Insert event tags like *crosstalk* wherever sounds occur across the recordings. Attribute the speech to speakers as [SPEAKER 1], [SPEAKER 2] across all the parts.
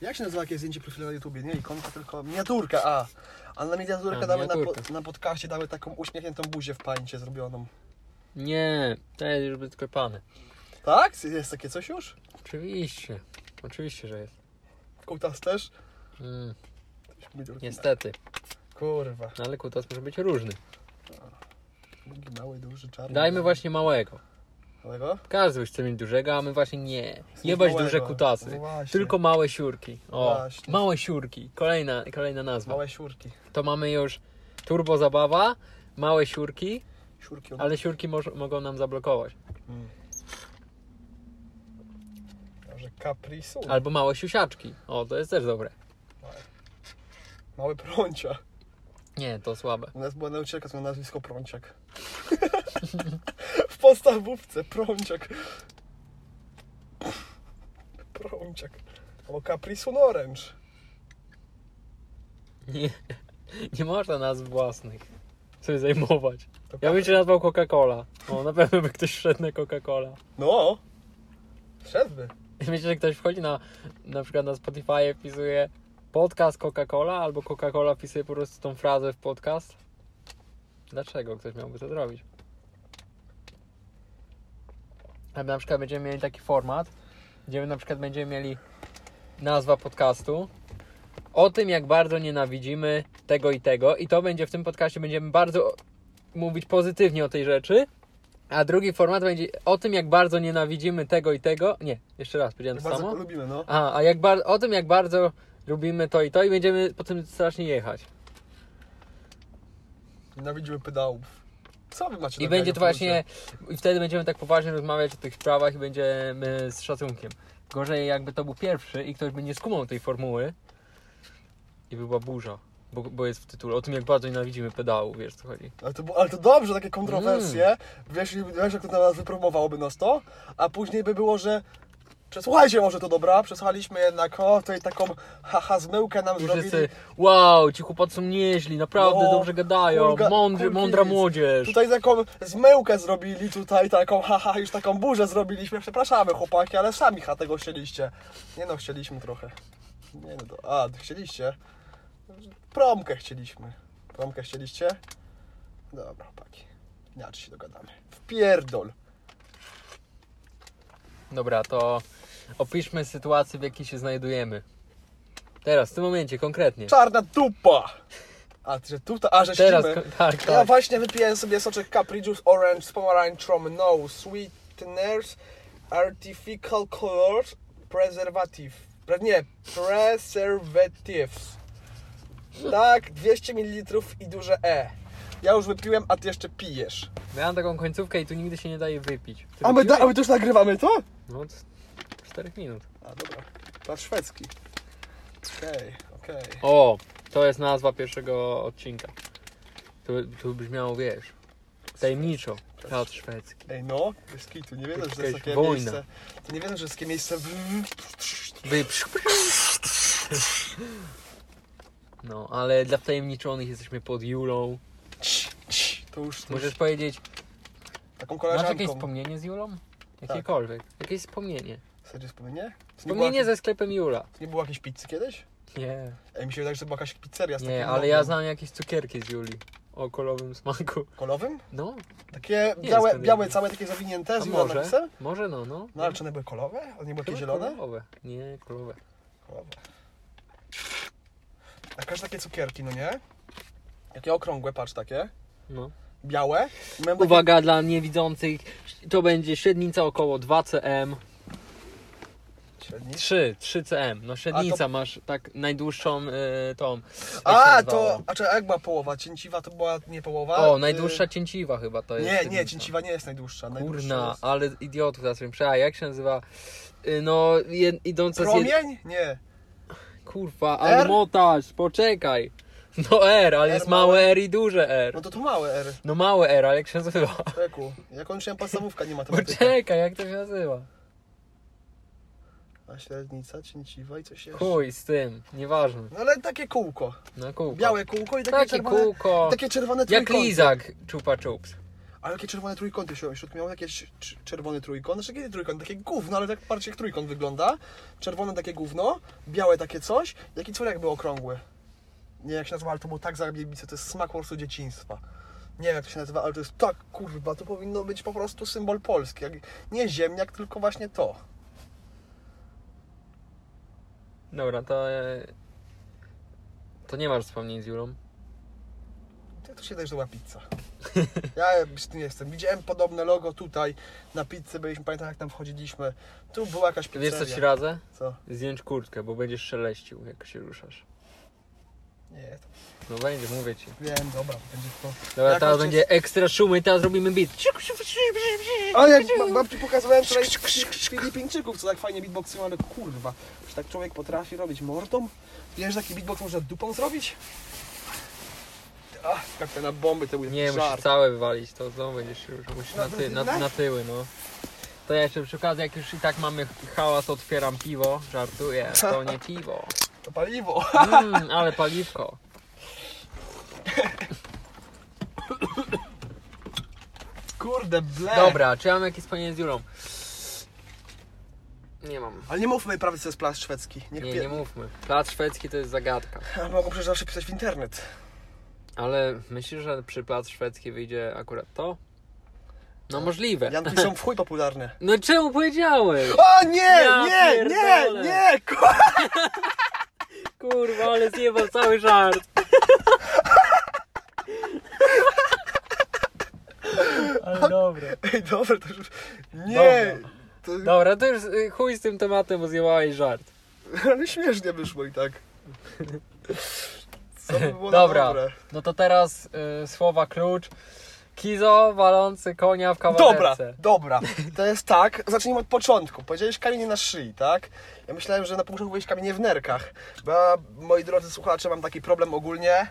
[SPEAKER 1] Jak się nazywa jakieś zdjęcie profilowe na YouTubie? Nie ikonka, tylko miniaturka, a. A na miniaturkę
[SPEAKER 2] A,
[SPEAKER 1] damy Na, po,
[SPEAKER 2] miniaturka.
[SPEAKER 1] na podcaście damy taką uśmiechniętą buzię w pańcie zrobioną.
[SPEAKER 2] Nie, ten już był sklepany.
[SPEAKER 1] Tak? Jest takie coś już?
[SPEAKER 2] Oczywiście. Oczywiście, że jest.
[SPEAKER 1] Kutas też?
[SPEAKER 2] Mm,
[SPEAKER 1] Miniaturki.
[SPEAKER 2] niestety.
[SPEAKER 1] Kurwa.
[SPEAKER 2] No, Ale kutas może być różny.
[SPEAKER 1] Drugi mały, duży, czarny.
[SPEAKER 2] Dajmy właśnie małego.
[SPEAKER 1] Małego?
[SPEAKER 2] Każdy chce mieć dużego, a my właśnie nie.
[SPEAKER 1] Chcesz
[SPEAKER 2] Jebać
[SPEAKER 1] małego.
[SPEAKER 2] duże
[SPEAKER 1] No
[SPEAKER 2] kutasy.
[SPEAKER 1] właśnie.
[SPEAKER 2] Tylko małe siurki. O,
[SPEAKER 1] Właśnie.
[SPEAKER 2] małe siurki. Kolejna, kolejna nazwa.
[SPEAKER 1] Małe siurki.
[SPEAKER 2] To mamy już turbo zabawa, małe siurki,
[SPEAKER 1] Siurki.
[SPEAKER 2] ale siurki moż- mogą nam zablokować.
[SPEAKER 1] Może kaprisu.
[SPEAKER 2] Albo małe siusiaczki. O, to jest też dobre.
[SPEAKER 1] Małe prącia.
[SPEAKER 2] Nie, to słabe.
[SPEAKER 1] U nas była nauczycielka, co ma nazwisko Prąciak. *laughs* w podstawówce Prąciak. Prąciak. Albo Caprisun Orange.
[SPEAKER 2] Nie, *laughs* nie można nazw własnych sobie zajmować.
[SPEAKER 1] To
[SPEAKER 2] Ja bym
[SPEAKER 1] Capri-
[SPEAKER 2] się nazwał Coca-Cola. O, na pewno by ktoś wszedł na Coca-Cola.
[SPEAKER 1] No. Wszedłby.
[SPEAKER 2] Myślę, że ktoś wchodzi na na przykład na Spotify wpisuje podcast Coca-Cola albo Coca-Cola wpisuje po prostu tą frazę w podcast. Dlaczego ktoś miałby to zrobić? A my na przykład będziemy mieli taki format, gdzie my na przykład będziemy mieli nazwa podcastu o tym, jak bardzo nienawidzimy tego i tego i to będzie w tym podcaście, będziemy bardzo mówić pozytywnie o tej rzeczy, a drugi format będzie o tym, jak bardzo nienawidzimy tego i tego. Nie, jeszcze raz, powiedziałem to
[SPEAKER 1] Bardzo
[SPEAKER 2] samo.
[SPEAKER 1] go lubimy, no.
[SPEAKER 2] A, a jak bar- o tym, jak bardzo lubimy to i to i będziemy po tym strasznie jechać.
[SPEAKER 1] Nienawidzimy pedałów. Co wy macie
[SPEAKER 2] I
[SPEAKER 1] na
[SPEAKER 2] będzie to
[SPEAKER 1] gaju,
[SPEAKER 2] właśnie, i wtedy będziemy tak poważnie rozmawiać o tych sprawach i będziemy z szacunkiem. Gorzej jakby to był pierwszy i ktoś by nie skumał tej formuły i by była burza, bo, bo jest w tytule o tym, jak bardzo nienawidzimy pedału, wiesz co chodzi.
[SPEAKER 1] Ale to, bu- ale to dobrze, takie kontrowersje.
[SPEAKER 2] Mm.
[SPEAKER 1] Wiesz, wiesz, jak to na nas wypromowałoby nos to, a później by było, że przesłuchajcie może to dobra, przesłuchaliśmy jednak, o, tutaj taką haha zmyłkę nam
[SPEAKER 2] Już
[SPEAKER 1] zrobili.
[SPEAKER 2] wszyscy, wow, ci chłopacy są nieźli, naprawdę
[SPEAKER 1] No,
[SPEAKER 2] dobrze gadają,
[SPEAKER 1] kurga-
[SPEAKER 2] mądrzy,
[SPEAKER 1] kurki
[SPEAKER 2] mądra
[SPEAKER 1] nic.
[SPEAKER 2] młodzież.
[SPEAKER 1] Tutaj taką zmyłkę zrobili, tutaj taką *laughs* haha, już taką burzę zrobiliśmy, przepraszamy chłopaki, ale sami ha tego chcieliście. Nie no, chcieliśmy trochę. Nie no, to, a, chcieliście? Promkę chcieliśmy. Promkę chcieliście? Dobra chłopaki, inaczej się dogadamy. Wpierdol.
[SPEAKER 2] Dobra, to opiszmy sytuację, w jakiej się znajdujemy. Teraz, w tym momencie, konkretnie.
[SPEAKER 1] Czarna dupa! A, że tutaj, a, że
[SPEAKER 2] Teraz,
[SPEAKER 1] śpimy.
[SPEAKER 2] ko- tak,
[SPEAKER 1] Ja
[SPEAKER 2] tak.
[SPEAKER 1] właśnie wypiłem sobie soczek Capri Juice Orange z pomarańczą No Sweeteners Artificial Colors Preservative Pre- Nie, Preservatives Tak, 200 ml i duże E Ja już wypiłem, a ty jeszcze pijesz
[SPEAKER 2] Miałem taką końcówkę i tu nigdy się nie daje wypić. Ty
[SPEAKER 1] A my,
[SPEAKER 2] wypiłeś?
[SPEAKER 1] da, a my też nagrywamy to?
[SPEAKER 2] No, c- 4 minut.
[SPEAKER 1] A dobra, plac szwedzki Okej, okej
[SPEAKER 2] O, to jest nazwa pierwszego odcinka. Tu, tu brzmiało, wiesz, tajemniczo. Teatr szwedzki.
[SPEAKER 1] Ej no, jest kitu, nie wiedziałem, że to jest
[SPEAKER 2] Jakaś
[SPEAKER 1] takie
[SPEAKER 2] wojna.
[SPEAKER 1] miejsce To nie wiedziałem, że jest takie miejsce w...
[SPEAKER 2] Wypsz. No, ale dla wtajemniczonych jesteśmy pod Julą.
[SPEAKER 1] To już, to już
[SPEAKER 2] Możesz powiedzieć,
[SPEAKER 1] taką
[SPEAKER 2] masz
[SPEAKER 1] koleżanką Tak.
[SPEAKER 2] jakieś wspomnienie z Julą? Jakiekolwiek. Jakieś wspomnienie.
[SPEAKER 1] Serio wspomnienie? To nie była
[SPEAKER 2] Wspomnienie ze sklepem Jula.
[SPEAKER 1] jakaś- Nie było jakiejś pizzy kiedyś?
[SPEAKER 2] Nie,
[SPEAKER 1] Ej, mi się wydaje, że to była jakaś pizzeria z
[SPEAKER 2] nie,
[SPEAKER 1] takim
[SPEAKER 2] ale
[SPEAKER 1] logiem.
[SPEAKER 2] ja znam jakieś cukierki z Julii. O kolowym smaku.
[SPEAKER 1] Kolowym?
[SPEAKER 2] No,
[SPEAKER 1] Takie
[SPEAKER 2] Nie
[SPEAKER 1] białe,
[SPEAKER 2] jestem
[SPEAKER 1] białe
[SPEAKER 2] pewien.
[SPEAKER 1] całe takie zawinięte
[SPEAKER 2] A
[SPEAKER 1] z
[SPEAKER 2] może?
[SPEAKER 1] napisem?
[SPEAKER 2] może no, no.
[SPEAKER 1] No ale czy one były kolowe? A nie były jakieś
[SPEAKER 2] Chyba
[SPEAKER 1] zielone?
[SPEAKER 2] Królowe. Nie, królowe.
[SPEAKER 1] Kolowe. A każde takie cukierki, no nie? Takie okrągłe, patrz takie.
[SPEAKER 2] No.
[SPEAKER 1] Białe. I Miałem takie...
[SPEAKER 2] Uwaga dla niewidzących, to będzie średnica około 2 cm.
[SPEAKER 1] Średni.
[SPEAKER 2] 3, 3 cm. No średnica
[SPEAKER 1] A to-
[SPEAKER 2] masz tak najdłuższą y, tą. jak się
[SPEAKER 1] A,
[SPEAKER 2] nazywało.
[SPEAKER 1] to... A czy jak była połowa? Cięciwa to była nie połowa?
[SPEAKER 2] O,
[SPEAKER 1] y,
[SPEAKER 2] najdłuższa cięciwa chyba to jest.
[SPEAKER 1] Nie, nie,
[SPEAKER 2] średnica.
[SPEAKER 1] cięciwa nie jest najdłuższa. najdłuższa
[SPEAKER 2] Kurna,
[SPEAKER 1] jest-
[SPEAKER 2] ale idiotów teraz wiem. A jak się nazywa? Y, No, jed, idąca z jed...
[SPEAKER 1] Promień? Nie.
[SPEAKER 2] Kurwa,
[SPEAKER 1] R?
[SPEAKER 2] ale motaż, poczekaj. No R, ale
[SPEAKER 1] R
[SPEAKER 2] jest
[SPEAKER 1] małe.
[SPEAKER 2] małe R i duże R.
[SPEAKER 1] No to tu małe R.
[SPEAKER 2] No małe R, ale jak się
[SPEAKER 1] *laughs*
[SPEAKER 2] nazywa?
[SPEAKER 1] Człowieku, ja kończyłem podstawówkę, nie matematyka.
[SPEAKER 2] Poczekaj, jak to się nazywa?
[SPEAKER 1] A średnica, cięciwa i coś jeszcze.
[SPEAKER 2] Chuj z tym, nieważne.
[SPEAKER 1] No ale takie kółko.
[SPEAKER 2] Na kółko.
[SPEAKER 1] Białe kółko i takie,
[SPEAKER 2] Takie
[SPEAKER 1] czerwone.
[SPEAKER 2] kółko.
[SPEAKER 1] Takie czerwone
[SPEAKER 2] Jak
[SPEAKER 1] trójkąty.
[SPEAKER 2] lizak Chupa Chups.
[SPEAKER 1] Ale jakie czerwone trójkąty się w środku miał jakieś cz- czerwony trójkąt, znaczy jakie trójkąt, takie gówno, ale tak bardziej jak trójkąt wygląda. Czerwone takie gówno, białe takie coś, jaki córek był okrągły. Nie jak się nazywa, ale to było tak zajebice, to jest smak po prostu dzieciństwa. Nie wiem jak to się nazywa, ale to jest tak kurwa, to powinno być po prostu symbol Polski. Jak, nie ziemniak, tylko właśnie to.
[SPEAKER 2] Dobra, to... e, To nie masz wspomnień z Julą.
[SPEAKER 1] Ja to się też była pizza. Ja z tym jestem. Widziałem podobne logo tutaj na pizzy, byliśmy, pamiętam jak tam wchodziliśmy. Tu była jakaś pizzeria.
[SPEAKER 2] Wiesz co ci radzę?
[SPEAKER 1] Co?
[SPEAKER 2] Zdjąć kurtkę, bo będziesz szeleścił, jak się ruszasz.
[SPEAKER 1] Nie, to
[SPEAKER 2] No będzie, mówię ci.
[SPEAKER 1] wiem, dobra, będzie to.
[SPEAKER 2] Dobra,
[SPEAKER 1] Jak
[SPEAKER 2] teraz
[SPEAKER 1] ojciec-
[SPEAKER 2] będzie ekstra szumy, teraz robimy beat.
[SPEAKER 1] A jak ba- babci pokazywałem wczoraj Filipińczyków, co tak fajnie beatboxują, ale kurwa, że tak człowiek potrafi robić mordą? Wiesz, że taki beatbox można dupą zrobić? Ach, jak te na bomby, to był
[SPEAKER 2] Nie,
[SPEAKER 1] jakiś
[SPEAKER 2] musisz
[SPEAKER 1] żart.
[SPEAKER 2] całe wywalić, to znowu będziesz się ruszył. Musisz na,
[SPEAKER 1] Na
[SPEAKER 2] ty, na,
[SPEAKER 1] tyle?
[SPEAKER 2] na tyły, no. To ja jeszcze przy okazji, jak już i tak mamy hałas, otwieram piwo. Żartuję, to nie piwo.
[SPEAKER 1] *laughs* To paliwo.
[SPEAKER 2] Mm, ale paliwko.
[SPEAKER 1] Kurde, ble.
[SPEAKER 2] Dobra, czy ja mam jakieś wspomnienie z Julą? Nie mam.
[SPEAKER 1] Ale nie mówmy prawie, co to jest plac szwedzki. Niech
[SPEAKER 2] Nie,
[SPEAKER 1] pie-
[SPEAKER 2] nie mówmy. Plac szwedzki to jest zagadka.
[SPEAKER 1] A *laughs* mogą przecież zawsze pisać w internet.
[SPEAKER 2] Ale myślisz, że przy plac szwedzki wyjdzie akurat to?
[SPEAKER 1] Tak.
[SPEAKER 2] No możliwe.
[SPEAKER 1] Janki są w chuj popularne.
[SPEAKER 2] No czemu powiedziałeś?
[SPEAKER 1] O nie,
[SPEAKER 2] Ja
[SPEAKER 1] nie, nie,
[SPEAKER 2] pierdolę.
[SPEAKER 1] nie, ku-
[SPEAKER 2] Kurwa, ale zjebał cały żart. *laughs* Ale dobra.
[SPEAKER 1] *laughs* Ej, dobra, to już... Nie,
[SPEAKER 2] Dobra.
[SPEAKER 1] to...
[SPEAKER 2] Dobra, to już y, chuj z tym tematem, bo zjebałeś żart.
[SPEAKER 1] *laughs* ale śmiesznie wyszło i tak. Co by było
[SPEAKER 2] Dobra.
[SPEAKER 1] na dobre?
[SPEAKER 2] No to teraz y, słowa klucz. Kizo walący konia w
[SPEAKER 1] Dobra,
[SPEAKER 2] kawalerce.
[SPEAKER 1] dobra, to jest tak, zacznijmy od początku. Powiedziałeś kamienie na szyi, tak? Ja myślałem, że na początku powiedziałeś kamienie w nerkach. Bo ja, moi drodzy słuchacze, mam taki problem ogólnie.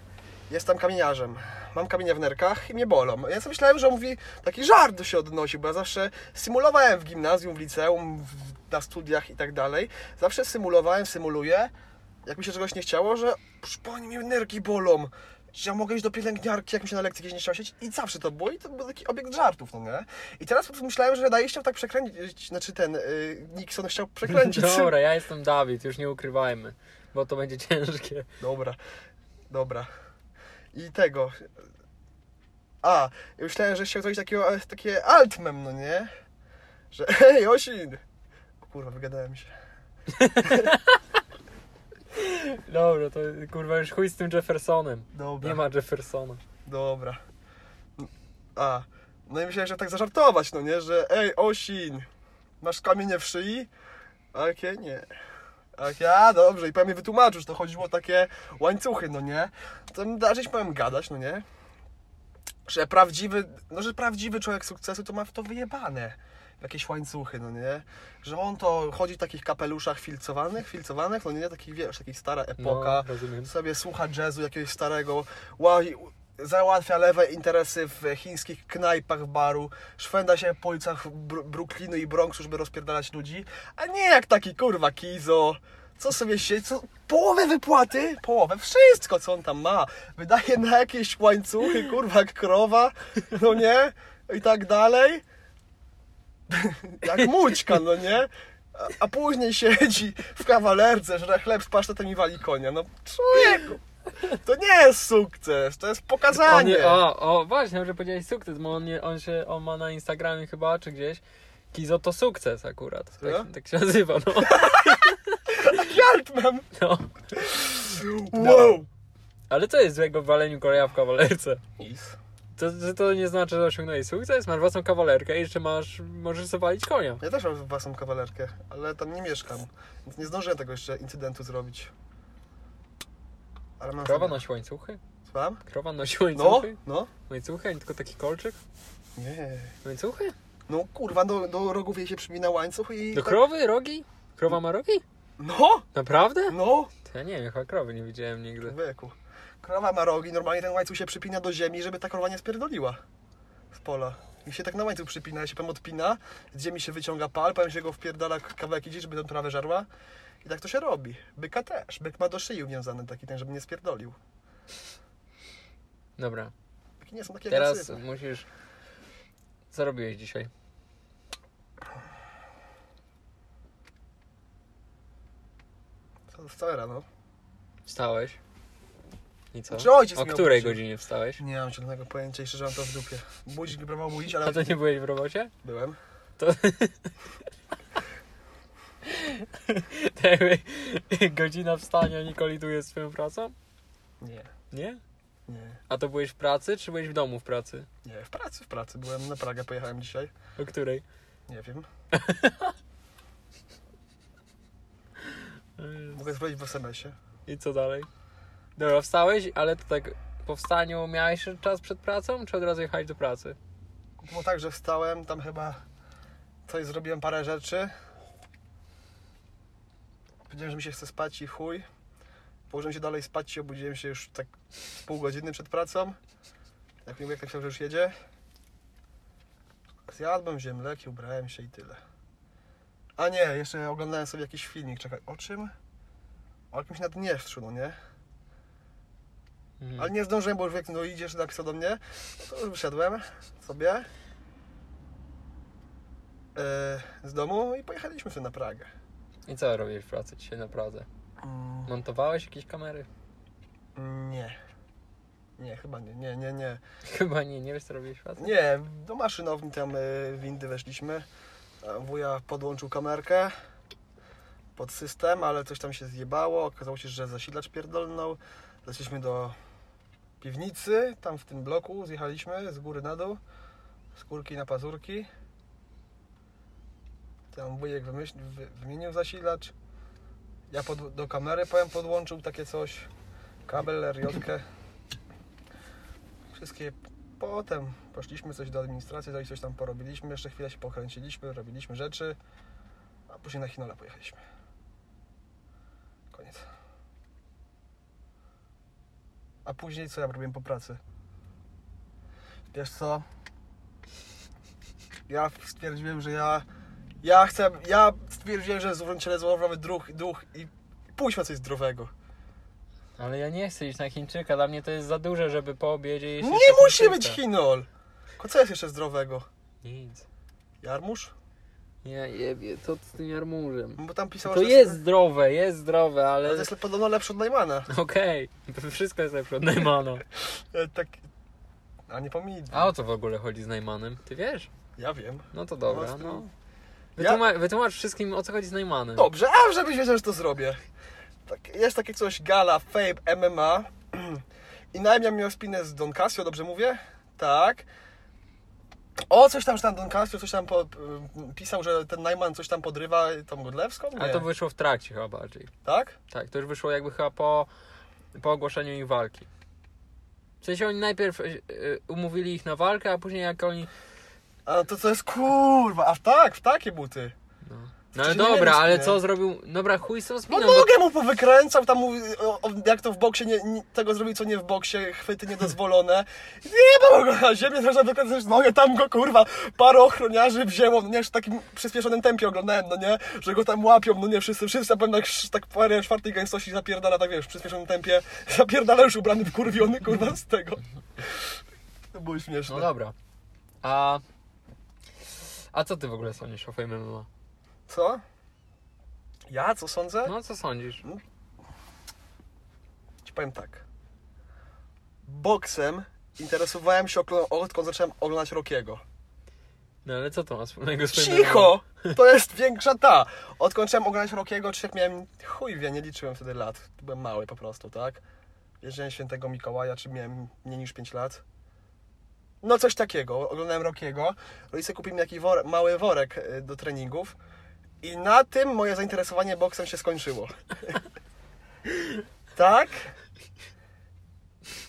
[SPEAKER 1] Jestem kamieniarzem. Mam kamienie w nerkach i mnie bolą. Ja sobie myślałem, że on mówi, taki żart się odnosi, bo ja zawsze symulowałem w gimnazjum, w liceum, w, na studiach i tak dalej. Zawsze symulowałem, symuluję. Jak mi się czegoś nie chciało, że "Proszę pani mnie nerki bolą. Że ja mogę iść do pielęgniarki, jak mi się na lekcji gdzieś nie chciało siedzieć. I zawsze to było i to był taki obiekt żartów, no nie? I teraz po prostu myślałem, że Daj chciał tak przekręcić, znaczy ten y, Nixon chciał przekręcić.
[SPEAKER 2] *laughs* Dobra, ja jestem Dawid, już nie ukrywajmy, bo to będzie *laughs* ciężkie.
[SPEAKER 1] Dobra, dobra. I tego. A, ja myślałem, że chciał coś takiego, e, takie altmem, no nie? Że *laughs* hej, Osin! O kurwa, wygadałem się.
[SPEAKER 2] Dobra, to kurwa już chuj z tym Jeffersonem.
[SPEAKER 1] Dobra,
[SPEAKER 2] Nie ma Jeffersona.
[SPEAKER 1] dobra. A, no i myślałem, że tak zażartować, no nie? Że ej, Osin, masz kamienie w szyi? A jakie nie. A jakie, a dobrze, i pewnie wytłumaczysz, to chodziło o takie łańcuchy, no nie? To raczej powiem gadać, no nie? że prawdziwy, no że prawdziwy człowiek sukcesu to ma w to wyjebane. W Jakieś łańcuchy, no nie? Że on to chodzi w takich kapeluszach filcowanych, filcowanych, no nie, takich wiesz, takich stara epoka.
[SPEAKER 2] No, rozumiem.
[SPEAKER 1] Sobie słucha jazzu jakiegoś starego, łazi, załatwia lewe interesy w chińskich knajpach, w baru, szwenda się po ulicach Bru- Brooklynu i Bronxu, żeby rozpierdalać ludzi, a nie jak taki kurwa Kizo. Co sobie się, co, połowę wypłaty, połowę, wszystko co on tam ma, wydaje na jakieś łańcuchy, kurwa, jak krowa, no nie, i tak dalej. Jak mućka, no nie? A, a później siedzi w kawalerce, że chleb z pasztetem i wali konia. No człowieku, to nie jest sukces, to jest
[SPEAKER 2] On
[SPEAKER 1] pokazanie.
[SPEAKER 2] nie, o, o, właśnie, że powiedziałeś sukces, bo on, nie, on się, on ma na Instagramie chyba, czy gdzieś. Kizo to sukces akurat.
[SPEAKER 1] Co?
[SPEAKER 2] Tak, tak się nazywa, no. *laughs*
[SPEAKER 1] *laughs* Altman,
[SPEAKER 2] no.
[SPEAKER 1] wow.
[SPEAKER 2] Ale co jest złego w waleniu koleja w kawalerce?
[SPEAKER 1] Nic.
[SPEAKER 2] To, to, to nie znaczy, że osiągnąłeś sukces, masz własną kawalerkę i jeszcze masz, możesz zawalić konia.
[SPEAKER 1] Ja też mam własną kawalerkę, ale tam nie mieszkam, więc nie zdążyłem tego jeszcze incydentu zrobić. Ale mam...
[SPEAKER 2] Krowa nosi łańcuchy?
[SPEAKER 1] Słucham?
[SPEAKER 2] Krowa nosi
[SPEAKER 1] No,
[SPEAKER 2] łańcuchy?
[SPEAKER 1] no.
[SPEAKER 2] Łańcuchy, a nie tylko taki kolczyk?
[SPEAKER 1] Nie.
[SPEAKER 2] Łańcuchy?
[SPEAKER 1] No kurwa, do, do rogów jej się przymina łańcuch i...
[SPEAKER 2] Do
[SPEAKER 1] tak-
[SPEAKER 2] No krowy? Rogi? Krowa ma rogi?
[SPEAKER 1] No,
[SPEAKER 2] Naprawdę?
[SPEAKER 1] no.
[SPEAKER 2] To ja nie wiem, chyba krowy nie widziałem nigdy.
[SPEAKER 1] Człowieku. Krowa ma rogi, normalnie ten łańcuch się przypina do ziemi, żeby ta krowa nie spierdoliła z pola. I się tak na łańcuch przypina, się potem odpina, z ziemi się wyciąga pal, potem się go wpierdala kawałek idzie, żeby tę trawę żarła. I tak to się robi. Byka też. Byk ma do szyi uwiązany taki ten, żeby nie spierdolił.
[SPEAKER 2] Dobra,
[SPEAKER 1] Byki nie są takie
[SPEAKER 2] teraz
[SPEAKER 1] agresywne.
[SPEAKER 2] musisz Co robiłeś dzisiaj?
[SPEAKER 1] Co- Wcale rano.
[SPEAKER 2] Wstałeś? I co?
[SPEAKER 1] Czy ojciec
[SPEAKER 2] O
[SPEAKER 1] mnie
[SPEAKER 2] której
[SPEAKER 1] obudził?
[SPEAKER 2] godzinie wstałeś?
[SPEAKER 1] Nie mam żadnego pojęcia i szczerze mam to w dupie. Budzik próbował budzić, ale
[SPEAKER 2] A to nie byłeś w robocie? *laughs*
[SPEAKER 1] byłem.
[SPEAKER 2] To Tak, jakby Godzina wstania nie koliduje z swoją pracą?
[SPEAKER 1] Nie.
[SPEAKER 2] Nie?
[SPEAKER 1] Nie.
[SPEAKER 2] A to byłeś w pracy, czy byłeś w domu w pracy?
[SPEAKER 1] Nie, w pracy, w pracy. Byłem na Pragę, pojechałem dzisiaj.
[SPEAKER 2] O której?
[SPEAKER 1] Nie wiem. Mogę sprawdzić w SMS-ie.
[SPEAKER 2] I co dalej? Dobra, wstałeś, ale to tak po wstaniu miałeś jeszcze czas przed pracą, czy od razu jechałeś do pracy?
[SPEAKER 1] Było tak, że wstałem, tam chyba coś zrobiłem, parę rzeczy. Powiedziałem, że mi się chce spać i chuj. Położyłem się dalej spać i obudziłem się już tak z pół godziny przed pracą. Jak mi mówię, jak napisał, że już jedzie. Zjadłem ziemleki, ubrałem się i tyle. A nie, jeszcze oglądałem sobie jakiś filmik, czekaj, o czym? O jakimś Naddniestrzu, no nie?
[SPEAKER 2] Mhm.
[SPEAKER 1] Ale nie zdążyłem, bo już jak no idziesz, napisał do mnie, No to już wyszedłem sobie e, z domu i pojechaliśmy sobie na Pragę.
[SPEAKER 2] I co robiłeś w pracy dzisiaj naprawdę?
[SPEAKER 1] Mm,
[SPEAKER 2] Montowałeś jakieś kamery? *laughs*
[SPEAKER 1] Nie. Nie, chyba nie, nie, nie, nie.
[SPEAKER 2] Chyba nie, nie wiesz co robiłeś w pracy?
[SPEAKER 1] Nie, do maszynowni tam e, windy weszliśmy. A Wuja podłączył kamerkę pod system, ale coś tam się zjebało. Okazało się, że zasilacz pierdolnął. Leciliśmy do piwnicy, tam w tym bloku zjechaliśmy z góry na dół, z górki na pazurki. Tam wujek wymyśl, wy, wymienił zasilacz. Ja pod, do kamery powiem podłączył takie coś, kabel, RJ. Wszystkie Potem poszliśmy coś do administracji, coś- coś tam porobiliśmy, jeszcze chwilę się pokręciliśmy, robiliśmy rzeczy, a później na Chinola pojechaliśmy. Koniec. A później co ja robiłem po pracy? Wiesz co? Ja stwierdziłem, że ja... Ja chcę... Ja stwierdziłem, że w ciele złowamy duch, duch i pójdźmy coś zdrowego.
[SPEAKER 2] Ale ja nie chcę iść na Chińczyka, dla mnie to jest za duże, żeby po obiedzie jeść
[SPEAKER 1] Nie
[SPEAKER 2] jeszcze
[SPEAKER 1] musi
[SPEAKER 2] Chińczyka.
[SPEAKER 1] być Chinol! Tylko Co jest jeszcze zdrowego?
[SPEAKER 2] Nic.
[SPEAKER 1] Jarmuż?
[SPEAKER 2] Ja jebie, co ty z tym jarmużem?
[SPEAKER 1] Bo tam pisało,
[SPEAKER 2] To
[SPEAKER 1] że-
[SPEAKER 2] jest zdrowe, jest zdrowe,
[SPEAKER 1] Ale
[SPEAKER 2] ale...
[SPEAKER 1] No to jest podobno lepsze od Najmana.
[SPEAKER 2] Okej, *laughs* wszystko jest lepsze od Neymana.
[SPEAKER 1] E, Tak. A nie pomidor.
[SPEAKER 2] A o co w ogóle chodzi z Neymanem? Ty wiesz?
[SPEAKER 1] Ja wiem.
[SPEAKER 2] No to
[SPEAKER 1] No,
[SPEAKER 2] dobra,
[SPEAKER 1] z tym-
[SPEAKER 2] no.
[SPEAKER 1] Ja-
[SPEAKER 2] Wytłumacz, wytłumacz wszystkim, o co chodzi z Neymanem.
[SPEAKER 1] Dobrze, a żebyś wiedział, że to zrobię. Tak, jest takie coś gala Fame MMA. *clears throat* I najmniej miał spinę z Don Casio, dobrze mówię? Tak. O, coś tam, że tam Don Casio coś tam po, m, pisał, że ten Najman coś tam podrywa tą Godlewską? Nie.
[SPEAKER 2] Ale to wyszło w trakcie chyba bardziej.
[SPEAKER 1] Tak?
[SPEAKER 2] Tak, to już wyszło jakby chyba po, po ogłoszeniu ich walki. W sensie oni najpierw e, e, umówili ich na walkę, a później jak oni... No
[SPEAKER 1] A to co jest kurwa, a w tak, w takie buty.
[SPEAKER 2] No, no ale
[SPEAKER 1] Czyli nie
[SPEAKER 2] dobra,
[SPEAKER 1] mieli
[SPEAKER 2] ale
[SPEAKER 1] spiny.
[SPEAKER 2] co zrobił... Dobra, chuj z tą
[SPEAKER 1] No
[SPEAKER 2] spiną. bo-
[SPEAKER 1] nogę mu powykręcał, tam mówi, o, o, jak to w boksie, nie, nie, tego zrobił, co nie w boksie, chwyty niedozwolone. Nie go na ziemię, można wykręcać nogę, tam go kurwa, parę ochroniarzy wzięło, no nie, w takim przyspieszonym tempie oglądałem, no nie, że go tam łapią, no nie, wszyscy, wszyscy na pewno jak sz- tak parę czwartej gęstości zapierdala, tak wiesz, w przyspieszonym tempie, *laughs* zapierdala już ubrany w kurwiony, kurwa, z tego. To było śmieszne.
[SPEAKER 2] No dobra. A... A co ty w ogóle sądzisz o Fame MMA?
[SPEAKER 1] Co? Ja, co sądzę?
[SPEAKER 2] No co sądzisz?
[SPEAKER 1] Ci powiem tak. Boksem interesowałem się okolo- odkąd zacząłem oglądać Rokiego.
[SPEAKER 2] No ale co to ma wspólnego z Fame MMA?
[SPEAKER 1] Cicho! *laughs* To jest większa ta. Odkąd zacząłem oglądać Rokiego, czy jak miałem. Chuj wie, nie liczyłem wtedy lat. Byłem mały po prostu, tak? Jeżdżałem świętego Mikołaja, czy miałem mniej niż 5 lat. No coś takiego. Oglądałem No Rokiego. Rodzice kupili mi jakiś wor- mały worek y, do treningów. I na tym moje zainteresowanie boksem się skończyło. *laughs* tak?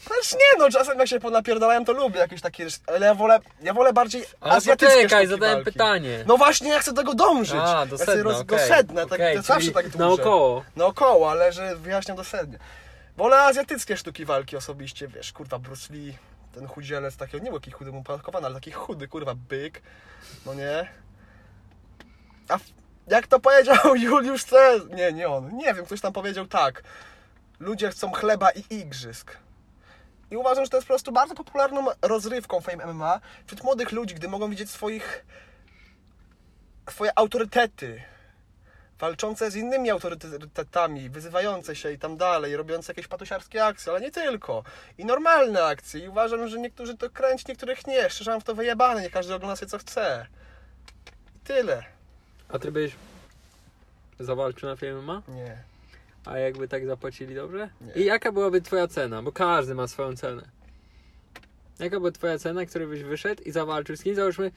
[SPEAKER 1] Znaczy nie no, czasem jak się ponapierdalałem to lubię jakieś takie, ale ja wolę, ja wolę bardziej
[SPEAKER 2] Ale
[SPEAKER 1] azjatyckie
[SPEAKER 2] no poczekaj,
[SPEAKER 1] sztuki
[SPEAKER 2] zadałem
[SPEAKER 1] walki.
[SPEAKER 2] pytanie.
[SPEAKER 1] No właśnie, ja chcę tego dążyć.
[SPEAKER 2] A, do
[SPEAKER 1] ja chcę
[SPEAKER 2] sedna,
[SPEAKER 1] do
[SPEAKER 2] okej.
[SPEAKER 1] sedna, tak,
[SPEAKER 2] Okej,
[SPEAKER 1] to zawsze
[SPEAKER 2] czyli
[SPEAKER 1] tak dłużej.
[SPEAKER 2] naokoło.
[SPEAKER 1] Naokoło, ale że wyjaśniam dosadnie. Wolę azjatyckie sztuki walki osobiście, wiesz, kurwa Bruce Lee, ten chudzielec, taki, nie był taki chudy, upakowana, ale taki chudy, kurwa, byk, no nie? A w- jak to powiedział *laughs* Juliusz Cezar, nie, nie on, nie wiem, ktoś tam powiedział tak, ludzie chcą chleba i igrzysk. I uważam, że to jest po prostu bardzo popularną rozrywką Fame MMA wśród młodych ludzi, gdy mogą widzieć swoich... swoje autorytety walczące z innymi autorytetami, wyzywające się i tam dalej, robiące jakieś patusiarskie akcje, ale nie tylko. I normalne akcje. I uważam, że niektórzy to kręci, niektórych nie. Szczerze mam w to wyjebane, nie każdy ogląda sobie co chce. I tyle.
[SPEAKER 2] A ty byś zawalczył na filmie ma?
[SPEAKER 1] Nie.
[SPEAKER 2] A jakby tak zapłacili dobrze?
[SPEAKER 1] Nie.
[SPEAKER 2] I jaka byłaby twoja cena? Bo każdy ma swoją cenę. Jaka była twoja cena, który byś wyszedł i zawalczył z kimś? Załóżmy,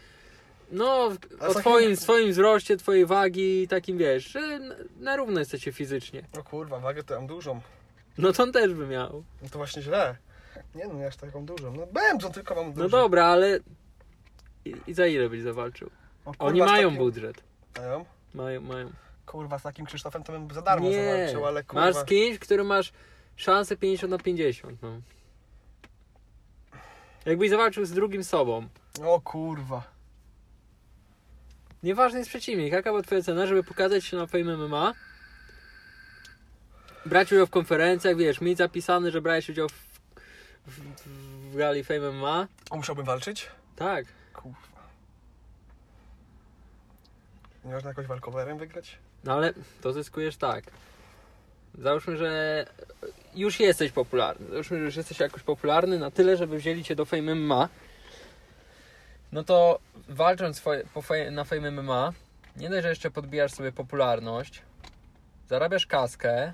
[SPEAKER 2] no, w-
[SPEAKER 1] A
[SPEAKER 2] o
[SPEAKER 1] za
[SPEAKER 2] twoim,
[SPEAKER 1] chwilę-
[SPEAKER 2] swoim wzroście, twojej wagi, takim wiesz, że n- na równo jesteście fizycznie.
[SPEAKER 1] No kurwa, wagę to mam dużą.
[SPEAKER 2] No to on też by miał.
[SPEAKER 1] No to właśnie źle. Nie no, nie aż taką dużą. No będą, tylko mam dużą.
[SPEAKER 2] No dobra, ale i, i za ile byś zawalczył?
[SPEAKER 1] O kurwa,
[SPEAKER 2] Oni
[SPEAKER 1] z
[SPEAKER 2] mają
[SPEAKER 1] takim-
[SPEAKER 2] budżet.
[SPEAKER 1] Mają?
[SPEAKER 2] Mają, mają.
[SPEAKER 1] Kurwa, z takim Krzysztofem to bym za darmo
[SPEAKER 2] nie.
[SPEAKER 1] zawalczył, ale kurwa.
[SPEAKER 2] Masz z kimś, który masz szansę 50 na 50, no. Jakbyś zawalczył z drugim sobą.
[SPEAKER 1] O kurwa.
[SPEAKER 2] Nieważny jest przeciwnik. Jaka była twoja cena, żeby pokazać się na Fame MMA? Brać udział w konferencjach, wiesz, mieć zapisane, że brałeś udział w, w, w gali Fame MMA.
[SPEAKER 1] A Musiałbym walczyć?
[SPEAKER 2] Tak.
[SPEAKER 1] Kurwa. Nie można jakoś walkowerem wygrać?
[SPEAKER 2] No ale to zyskujesz tak. Załóżmy, że już jesteś popularny. Załóżmy, że już jesteś jakoś popularny na tyle, żeby wzięli cię do Fame MMA. No to walcząc fo- po fe- na Fame MMA, nie dość, że jeszcze podbijasz sobie popularność, zarabiasz kaskę,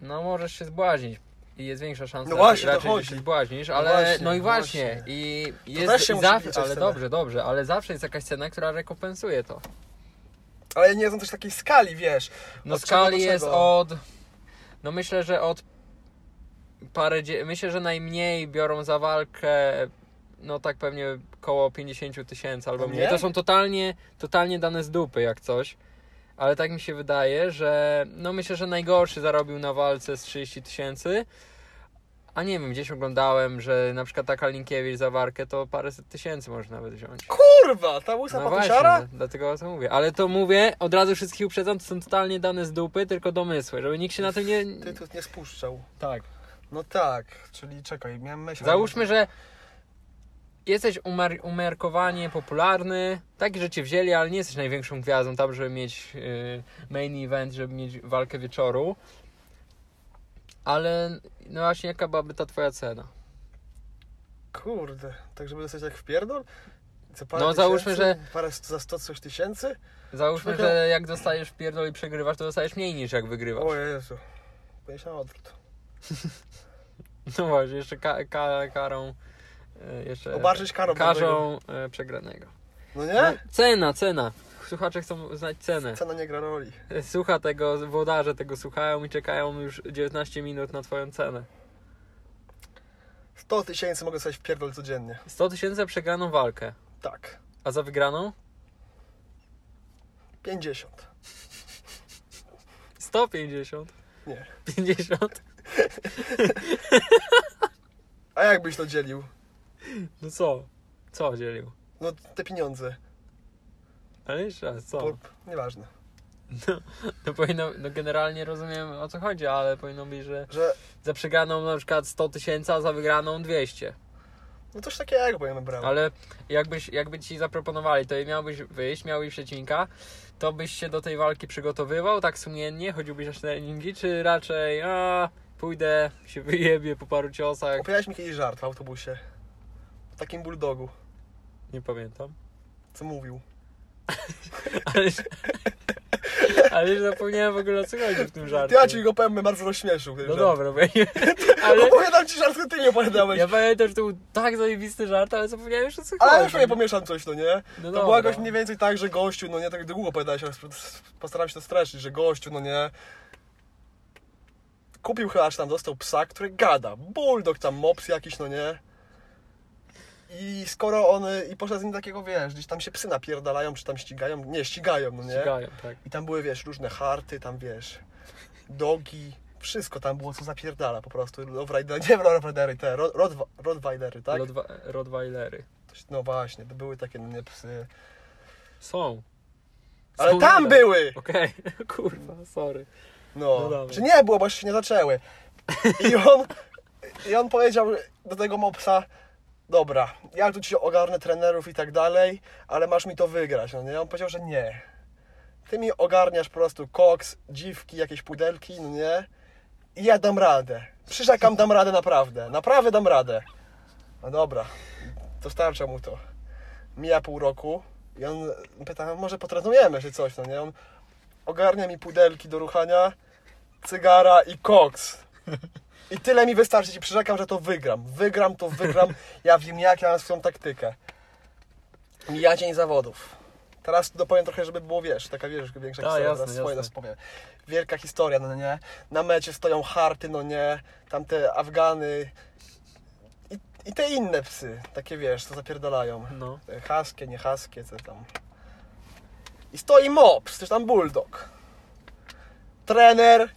[SPEAKER 2] no możesz się zbłaźnić. I jest większa szansa,
[SPEAKER 1] No właśnie,
[SPEAKER 2] raczej,
[SPEAKER 1] to
[SPEAKER 2] że się
[SPEAKER 1] chodzi.
[SPEAKER 2] zbłaźnisz,
[SPEAKER 1] No
[SPEAKER 2] ale
[SPEAKER 1] właśnie,
[SPEAKER 2] no i
[SPEAKER 1] no
[SPEAKER 2] właśnie.
[SPEAKER 1] właśnie.
[SPEAKER 2] I
[SPEAKER 1] też
[SPEAKER 2] jest,
[SPEAKER 1] się musi
[SPEAKER 2] zawsze,
[SPEAKER 1] wliczać w
[SPEAKER 2] ale
[SPEAKER 1] cenę.
[SPEAKER 2] dobrze, dobrze, ale zawsze jest jakaś cena, która rekompensuje to.
[SPEAKER 1] Ale ja nie znam też takiej skali, wiesz.
[SPEAKER 2] No
[SPEAKER 1] Od czego do
[SPEAKER 2] skali jest
[SPEAKER 1] czego?
[SPEAKER 2] od. No myślę, że od parę. dzie- Myślę, że najmniej biorą za walkę. No tak pewnie koło 50 tysięcy albo
[SPEAKER 1] No
[SPEAKER 2] mniej. To
[SPEAKER 1] nie?
[SPEAKER 2] są totalnie, totalnie dane z dupy jak coś. Ale tak mi się wydaje, że no myślę, że najgorszy zarobił na walce z 30 tysięcy. A nie wiem, gdzieś oglądałem, że na przykład taka Linkiewicz za warkę to paręset tysięcy może nawet wziąć.
[SPEAKER 1] Kurwa, ta łysa
[SPEAKER 2] No
[SPEAKER 1] no
[SPEAKER 2] właśnie, d- dlatego o tym mówię. Ale to mówię, od razu wszystkich uprzedzam, to są totalnie dane z dupy, tylko domysły, żeby nikt się na tym nie...
[SPEAKER 1] Ty tu nie spuszczał.
[SPEAKER 2] Tak.
[SPEAKER 1] No tak, czyli czekaj, miałem myśl.
[SPEAKER 2] Załóżmy, że jesteś umar- umiarkowanie popularny, taki, że cię wzięli, ale nie jesteś największą gwiazdą tam, żeby mieć yy, main event, żeby mieć walkę wieczoru. Ale no właśnie, jaka byłaby ta twoja cena?
[SPEAKER 1] Kurde, tak żeby dostać jak w pierdol? Co parę
[SPEAKER 2] No, załóżmy,
[SPEAKER 1] tysięcy? Parę st- za 100 coś tysięcy?
[SPEAKER 2] Załóżmy,
[SPEAKER 1] Czekaj.
[SPEAKER 2] że jak dostajesz w pierdol i przegrywasz, to dostajesz mniej niż jak wygrywasz.
[SPEAKER 1] O Jezu. Będziesz na odwrót.
[SPEAKER 2] No właśnie, jeszcze ka- ka- karą. e, Jeszcze
[SPEAKER 1] Obarczyć karą
[SPEAKER 2] Karzą e, przegranego.
[SPEAKER 1] No
[SPEAKER 2] No,
[SPEAKER 1] nie?
[SPEAKER 2] cena, cena. Słuchacze chcą znać cenę.
[SPEAKER 1] Cena nie gra roli.
[SPEAKER 2] Słucha tego, włodarze tego słuchają i czekają już 19 minut na twoją cenę.
[SPEAKER 1] 100 tysięcy mogę dostać w pierdol codziennie.
[SPEAKER 2] 100 tysięcy za przegraną walkę.
[SPEAKER 1] Tak.
[SPEAKER 2] A za wygraną?
[SPEAKER 1] 50.
[SPEAKER 2] 150.
[SPEAKER 1] Nie.
[SPEAKER 2] 50.
[SPEAKER 1] A jak byś to dzielił?
[SPEAKER 2] No co? Co dzielił?
[SPEAKER 1] No te pieniądze.
[SPEAKER 2] Ale jeszcze raz, co?
[SPEAKER 1] Bo, nieważne.
[SPEAKER 2] No, powinno, no generalnie rozumiem o co chodzi, ale powinno być, że
[SPEAKER 1] Że
[SPEAKER 2] za przegraną na przykład 100 tysięcy, a za wygraną 200.
[SPEAKER 1] no coś takiego ja bym brał.
[SPEAKER 2] Ale jakbyś, jakby ci zaproponowali, to i miałbyś wyjść, miałbyś przeciwnika, to byś się do tej walki przygotowywał tak sumiennie, chodziłbyś na treningi, czy raczej a, pójdę, się wyjebię po paru ciosach,
[SPEAKER 1] Opowiadałeś mi kiedyś żart w autobusie. O takim bulldogu,
[SPEAKER 2] nie pamiętam.
[SPEAKER 1] co mówił.
[SPEAKER 2] Ale, ale już zapomniałem w ogóle o co chodzi w tym żarcie.
[SPEAKER 1] Ja ci go powiem, mnie bardzo rozśmieszył. ten
[SPEAKER 2] No
[SPEAKER 1] żart.
[SPEAKER 2] dobra, bo ja nie, ale
[SPEAKER 1] Opowiadam ci żart, który ty nie opowiadałeś.
[SPEAKER 2] ja pamiętam, że to był tak zajebisty żart, ale zapomniałem już o co chodzi.
[SPEAKER 1] Ale już nie pomieszam coś, no nie?
[SPEAKER 2] No
[SPEAKER 1] to
[SPEAKER 2] dobra.
[SPEAKER 1] było jakoś mniej więcej tak, że gościu, no nie, tak długo opowiadałeś, ale sp- postaram się to streszczyć, że gościu, no nie, kupił chyba, czy tam dostał psa, który gada, bulldog tam, mops jakiś, no nie. I skoro on, y, i poszedł z nim takiego, wiesz, gdzieś tam się psy napierdalają, czy tam ścigają, nie, ścigają, no nie.
[SPEAKER 2] Ścigają, tak.
[SPEAKER 1] I tam były, wiesz, różne harty, tam wiesz, dogi, wszystko tam było, co zapierdala po prostu. Lowrider, nie Lowridery, te, Rod, Rod, Rodweidery, tak?
[SPEAKER 2] Lodwa- Rottweilery.
[SPEAKER 1] No właśnie, to były takie, no nie, psy.
[SPEAKER 2] Są.
[SPEAKER 1] Ale
[SPEAKER 2] Są
[SPEAKER 1] tam
[SPEAKER 2] nadal.
[SPEAKER 1] były!
[SPEAKER 2] Okej, *laughs* kurwa, sorry.
[SPEAKER 1] No,
[SPEAKER 2] No dobra.
[SPEAKER 1] czy nie było, bo jeszcze się nie zaczęły. I on, I on powiedział do tego mopsa, dobra, ja tu ci ogarnę trenerów i tak dalej, ale masz mi to wygrać. No nie? On powiedział, że nie. Ty mi ogarniasz po prostu koks, dziwki, jakieś pudelki, no nie? I ja dam radę. Przyrzekam, dam radę naprawdę. Naprawdę dam radę. No dobra, dostarcza mu to. Mija pół roku i on pyta, może potrenujemy czy coś, no nie? On ogarnia mi pudelki do ruchania, cygara i koks. I tyle mi wystarczy, ci przyrzekam, że to wygram. Wygram, to
[SPEAKER 2] *laughs*
[SPEAKER 1] wygram. Ja wiem, jak ja mam swoją taktykę. Mija dzień zawodów. Teraz dopowiem trochę, żeby było, wiesz, taka, wiesz, większa
[SPEAKER 2] A,
[SPEAKER 1] historia.
[SPEAKER 2] Tak, jasne,
[SPEAKER 1] teraz swoje nas
[SPEAKER 2] jasne.
[SPEAKER 1] powiem. Wielka historia, no nie? Na mecie stoją harty, no nie? Tamte Afgany i, i te inne psy, takie, wiesz, co zapierdalają.
[SPEAKER 2] No.
[SPEAKER 1] E, Haskie, nie haskie, co tam. I stoi mops, czy tam bulldog. Trener,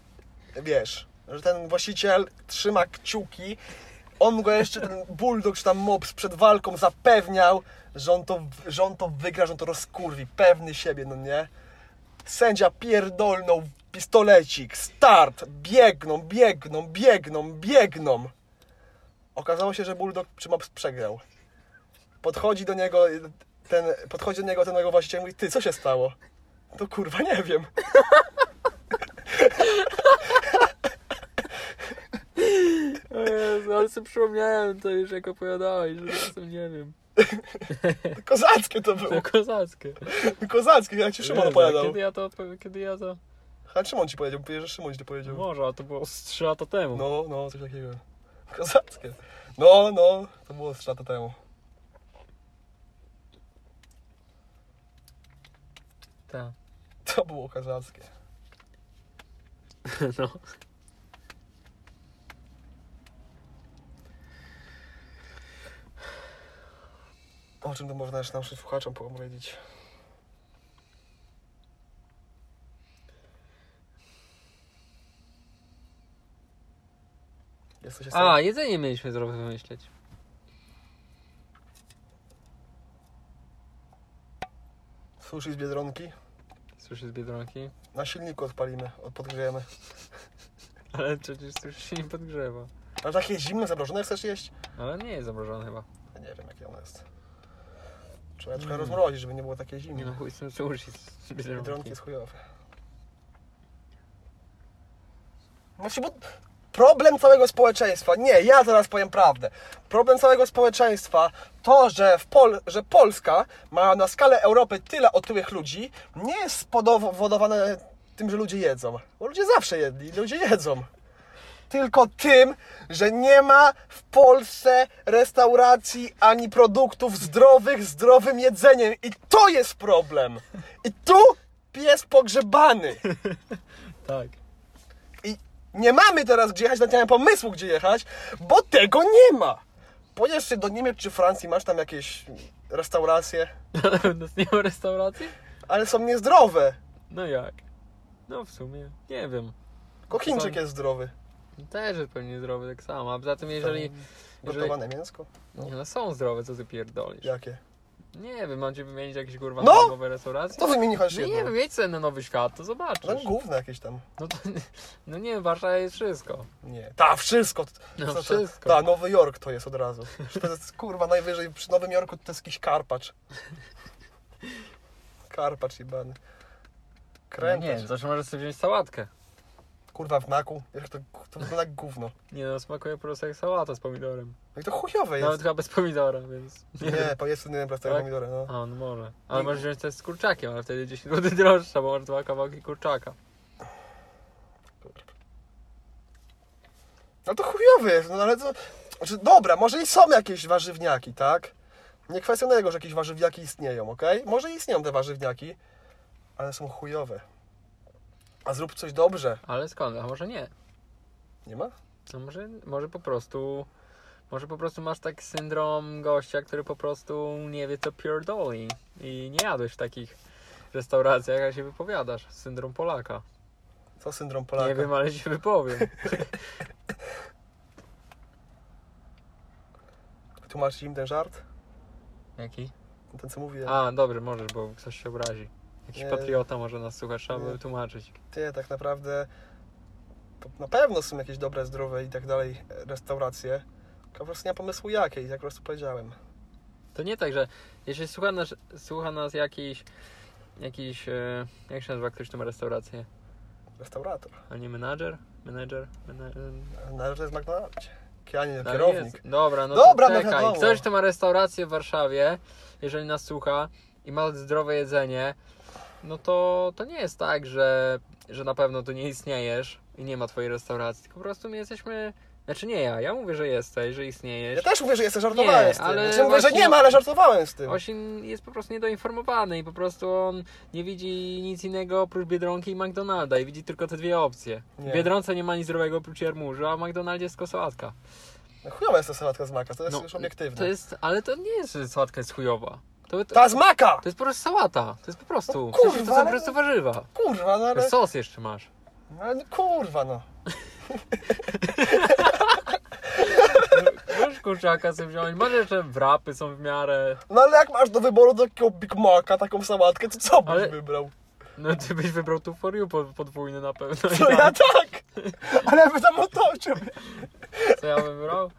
[SPEAKER 1] wiesz, że ten właściciel trzyma kciuki. On go jeszcze, ten bulldog czy tam mops przed walką zapewniał, że on to, że on to wygra, że on to rozkurwi. Pewny siebie, no nie? Sędzia pierdolnął pistolecik, start, biegną, biegną, biegną, biegną. Okazało się, że bulldog czy mops przegrał podchodzi do niego ten, podchodzi do niego ten jego właściciel i mówi, ty, co się stało? To kurwa, nie wiem.
[SPEAKER 2] O Jezu, ale sobie przypomniałem to już jak opowiadałeś, że czasem nie wiem.
[SPEAKER 1] Kozackie to było,
[SPEAKER 2] To kozackie.
[SPEAKER 1] kozackie, jak ci Szymon
[SPEAKER 2] Jezu,
[SPEAKER 1] opowiadał.
[SPEAKER 2] Kiedy ja to, opowi- kiedy ja to...
[SPEAKER 1] A Szymon ci powiedział, powie, że Szymon ci to powiedział.
[SPEAKER 2] Może, a to było z 3 lata temu.
[SPEAKER 1] No, no, coś takiego. Kozackie. No, no, to było z 3 lata temu.
[SPEAKER 2] Tak.
[SPEAKER 1] To było kozackie.
[SPEAKER 2] *laughs* No.
[SPEAKER 1] O czym to można jeszcze naszym słuchaczom powiedzieć? Jest coś jeszcze?
[SPEAKER 2] A, jedzenie mieliśmy zrobić wymyśleć.
[SPEAKER 1] Sushi z Biedronki?
[SPEAKER 2] Słyszy z Biedronki.
[SPEAKER 1] Na silniku odpalimy, od- podgrzejemy.
[SPEAKER 2] Ale przecież już się nie podgrzewa.
[SPEAKER 1] Ale takie zimne, zabrożone chcesz jeść?
[SPEAKER 2] Ale nie jest zamrożone chyba.
[SPEAKER 1] Ja nie wiem, jakie ono jest. Trzeba trochę rozmrozić, żeby nie było takie zimne.
[SPEAKER 2] Mm. Nie no chuj, są sushi z
[SPEAKER 1] Biedronki
[SPEAKER 2] Biedronki.
[SPEAKER 1] jest chujowe. Właśnie, Znaczy, bo problem całego społeczeństwa, nie, ja teraz powiem prawdę. Problem całego społeczeństwa to, że, w Pol że Polska ma na skalę Europy tyle otyłych ludzi, nie jest spowodowane tym, że ludzie jedzą. Bo ludzie zawsze jedli, ludzie jedzą. Tylko tym, że nie ma w Polsce restauracji ani produktów zdrowych z zdrowym jedzeniem. I to jest problem. I tu pies pogrzebany.
[SPEAKER 2] Tak. *laughs*
[SPEAKER 1] I nie mamy teraz gdzie jechać, nawet nie mamy pomysłu gdzie jechać, bo tego nie ma. Pojedziesz się do Niemiec czy Francji, masz tam jakieś restauracje,
[SPEAKER 2] Ale u nas nie ma restauracji?
[SPEAKER 1] ale są niezdrowe.
[SPEAKER 2] No jak? No w sumie, nie wiem.
[SPEAKER 1] Tylko Chińczyk
[SPEAKER 2] Są-
[SPEAKER 1] jest zdrowy.
[SPEAKER 2] Też jest pewnie zdrowy tak samo, a poza tym jeżeli... jeżeli...
[SPEAKER 1] Gotowane mięsko?
[SPEAKER 2] Nie, no są zdrowe, co ty pierdolisz?
[SPEAKER 1] Jakie?
[SPEAKER 2] Nie wiem, mam ci wymienić jakieś kurwa
[SPEAKER 1] No!
[SPEAKER 2] nowe restauracje?
[SPEAKER 1] To wymieni chociaż
[SPEAKER 2] No nie
[SPEAKER 1] jedno.
[SPEAKER 2] wiem, jedź sobie na Nowy Świat, to
[SPEAKER 1] No
[SPEAKER 2] zobaczysz.
[SPEAKER 1] główne jakieś tam.
[SPEAKER 2] No, to, no nie wiem, Warszawa jest wszystko.
[SPEAKER 1] Nie. Ta, wszystko.
[SPEAKER 2] No,
[SPEAKER 1] Co to?
[SPEAKER 2] wszystko.
[SPEAKER 1] Ta, Nowy Jork to jest od razu. To jest kurwa najwyżej przy Nowym Jorku to jest jakiś karpacz. Karpacz jebany.
[SPEAKER 2] No
[SPEAKER 1] Krępacz.
[SPEAKER 2] nie wiem, zawsze możesz sobie wziąć sałatkę.
[SPEAKER 1] Kurwa w maku. Jak to, to wygląda jak gówno.
[SPEAKER 2] Nie no, smakuje po prostu jak sałata z pomidorem.
[SPEAKER 1] No i to chujowe
[SPEAKER 2] Nawet
[SPEAKER 1] jest.
[SPEAKER 2] chyba bez pomidora, więc...
[SPEAKER 1] Nie, po jest innym prawdziwym
[SPEAKER 2] Tak?
[SPEAKER 1] pomidorem, no.
[SPEAKER 2] A, no może. Ale możesz wziąć też z kurczakiem, ale wtedy 10 zł droższa, bo masz dwa kawałki kurczaka.
[SPEAKER 1] No to chujowe jest, no ale to... Znaczy, dobra, może i są jakieś warzywniaki, tak? Nie kwestionuję tego, że jakieś warzywniaki istnieją, okej? Może istnieją te warzywniaki, ale są chujowe. A zrób coś dobrze.
[SPEAKER 2] Ale skąd? A może nie?
[SPEAKER 1] Nie ma?
[SPEAKER 2] No może, może po prostu... Może po prostu masz taki syndrom gościa, który po prostu nie wie co pierdoli. I nie jadłeś w takich restauracjach, jak się wypowiadasz. Syndrom Polaka.
[SPEAKER 1] Co syndrom Polaka?
[SPEAKER 2] Nie wiem, ale
[SPEAKER 1] *laughs*
[SPEAKER 2] się wypowiem.
[SPEAKER 1] Tłumaczyć im ten żart?
[SPEAKER 2] Jaki?
[SPEAKER 1] Ten co mówię?
[SPEAKER 2] A, dobrze, możesz, bo ktoś się obrazi. Jakiś
[SPEAKER 1] Nie.
[SPEAKER 2] patriota może nas słuchać, trzeba
[SPEAKER 1] Nie.
[SPEAKER 2] by tłumaczyć.
[SPEAKER 1] Ty, tak naprawdę to na pewno są jakieś dobre, zdrowe i tak dalej e, restauracje. Tylko po prostu nie mam pomysłu jakie i tak po prostu powiedziałem.
[SPEAKER 2] To nie tak, że jeśli słucha nas, słucha nas jakiś, jakiś, e, jak się nazywa ktoś, kto ma restaurację,
[SPEAKER 1] Restaurator.
[SPEAKER 2] a nie menadżer? Menedżer? Mene-
[SPEAKER 1] Należy to jest McDonald's. Ja nie,
[SPEAKER 2] No,
[SPEAKER 1] kierownik.
[SPEAKER 2] jest. Dobra, no
[SPEAKER 1] Dobra,
[SPEAKER 2] to
[SPEAKER 1] no
[SPEAKER 2] czekaj.
[SPEAKER 1] wiadomo.
[SPEAKER 2] Ktoś, kto ma restaurację w Warszawie, jeżeli nas słucha i ma zdrowe jedzenie, no to, to nie jest tak, że, że na pewno tu nie istniejesz i nie ma twojej restauracji. Tylko po prostu my jesteśmy... Znaczy nie ja, ja mówię, że jesteś, że istniejesz.
[SPEAKER 1] Ja też mówię, że jestem żartowałem
[SPEAKER 2] Nie,
[SPEAKER 1] z tym.
[SPEAKER 2] ale
[SPEAKER 1] Ale mówię, że
[SPEAKER 2] właśnie-
[SPEAKER 1] nie ma, ale żartowałem z tym.
[SPEAKER 2] Osin jest po prostu niedoinformowany i po prostu on nie widzi nic innego oprócz Biedronki i McDonalda i widzi tylko te dwie opcje.
[SPEAKER 1] Nie.
[SPEAKER 2] W Biedronce nie ma nic zdrowego oprócz jarmużu, a w McDonaldzie jest tylko sałatka.
[SPEAKER 1] No chujowa jest ta sałatka z maka, to jest już obiektywne.
[SPEAKER 2] No, To jest, ale to nie jest, że sałatka jest chujowa. To, to,
[SPEAKER 1] Ta z maka!
[SPEAKER 2] to jest po prostu sałata. To jest po prostu.
[SPEAKER 1] No kurwa,
[SPEAKER 2] w sensie to są po
[SPEAKER 1] ale-
[SPEAKER 2] prostu warzywa.
[SPEAKER 1] Kurwa, no ale...
[SPEAKER 2] Sos jeszcze masz.
[SPEAKER 1] No, ale kurwa, no.
[SPEAKER 2] Możesz kurczaka sobie wziąć, masz jeszcze wrapy są w miarę.
[SPEAKER 1] No ale jak masz do wyboru takiego Big Maca, taką sałatkę, to co byś
[SPEAKER 2] Ale-
[SPEAKER 1] wybrał?
[SPEAKER 2] No ty byś wybrał tu for you po- podwójny na pewno.
[SPEAKER 1] To ja tak! Ale ja pytam o to, o czym...
[SPEAKER 2] Co ja bym wybrał?